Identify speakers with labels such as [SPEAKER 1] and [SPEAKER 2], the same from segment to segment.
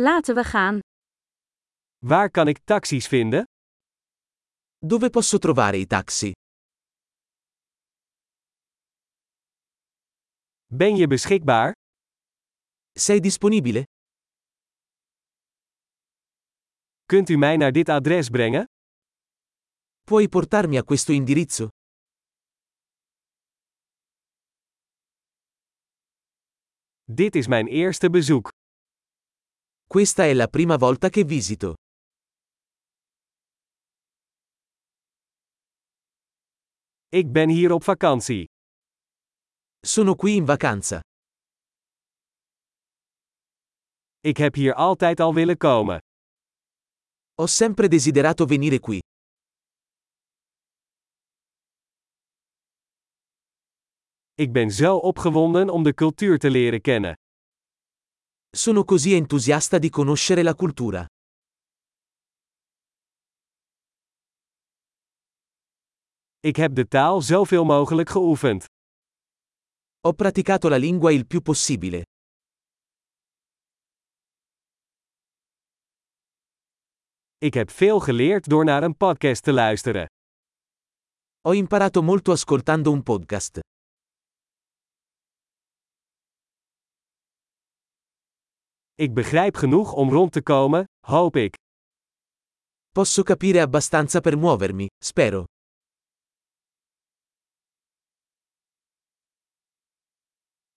[SPEAKER 1] Laten we gaan.
[SPEAKER 2] Waar kan ik taxis vinden?
[SPEAKER 3] Dove posso trovare i taxi?
[SPEAKER 2] Ben je beschikbaar?
[SPEAKER 3] Sei disponibile?
[SPEAKER 2] Kunt u mij naar dit adres brengen?
[SPEAKER 3] Puoi portarmi a questo indirizzo?
[SPEAKER 2] Dit is mijn eerste bezoek.
[SPEAKER 3] Questa è la prima volta che visito.
[SPEAKER 2] Ik ben hier op vakantie.
[SPEAKER 3] Sono qui in vacanza.
[SPEAKER 2] Ik heb hier altijd al willen komen.
[SPEAKER 3] Ho sempre desiderato venire qui.
[SPEAKER 2] Ik ben zo opgewonden om de cultuur te leren kennen.
[SPEAKER 3] Sono così entusiasta di conoscere la cultura.
[SPEAKER 2] Ik heb de taal zoveel mogelijk geoefend.
[SPEAKER 3] Ho praticato la lingua il più possibile.
[SPEAKER 2] Ik heb veel geleerd door naar een podcast te luisteren.
[SPEAKER 3] Ho imparato molto ascoltando un podcast.
[SPEAKER 2] Ik begrijp genoeg om rond te komen, hoop ik.
[SPEAKER 3] Posso capire abbastanza per muovermi, spero.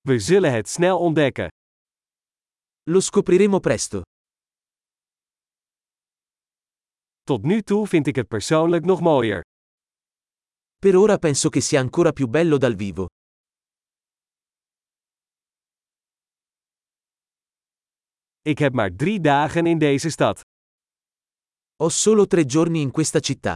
[SPEAKER 2] We zullen het snel ontdekken.
[SPEAKER 3] Lo scopriremo presto.
[SPEAKER 2] Tot nu toe vind ik het persoonlijk nog mooier.
[SPEAKER 3] Per ora penso che sia ancora più bello dal vivo.
[SPEAKER 2] Ik heb maar drie dagen in deze stad.
[SPEAKER 3] Ho solo tre giorni in questa città.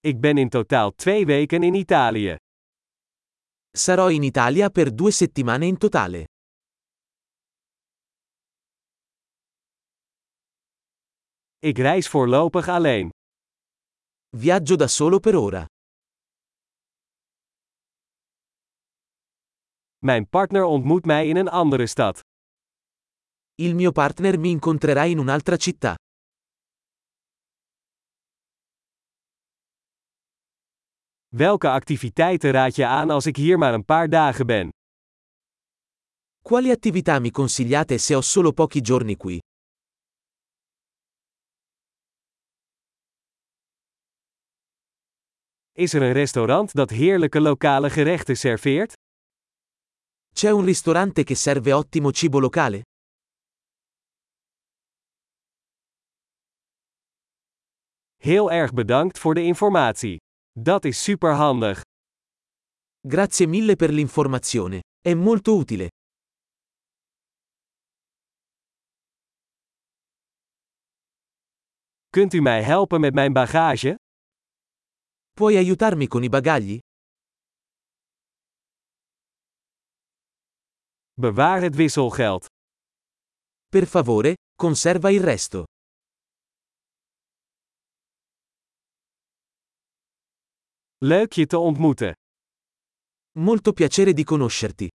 [SPEAKER 2] Ik ben in totaal twee weken in Italië.
[SPEAKER 3] Sarò in Italia per due settimane in totale.
[SPEAKER 2] Ik reis voorlopig alleen.
[SPEAKER 3] Viaggio da solo per ora.
[SPEAKER 2] Mijn partner ontmoet mij in een andere stad.
[SPEAKER 3] Il mio partner mi incontrerà in un'altra città.
[SPEAKER 2] Welke activiteiten raad je aan als ik hier maar een paar dagen ben?
[SPEAKER 3] Quali attività mi consigliate se ho solo pochi giorni qui?
[SPEAKER 2] Is er een restaurant dat heerlijke lokale gerechten serveert?
[SPEAKER 3] C'è un ristorante che serve ottimo cibo locale?
[SPEAKER 2] Heel erg bedankt voor de informatie. Dat is superhandig.
[SPEAKER 3] Grazie mille per l'informazione. È molto utile.
[SPEAKER 2] Kunt u mij helpen met mijn bagage?
[SPEAKER 3] Puoi aiutarmi con i bagagli?
[SPEAKER 2] Bewaar het wisselgeld.
[SPEAKER 3] Per favore, conserva il resto.
[SPEAKER 2] Leuk je te ontmoeten.
[SPEAKER 3] Molto piacere di conoscerti.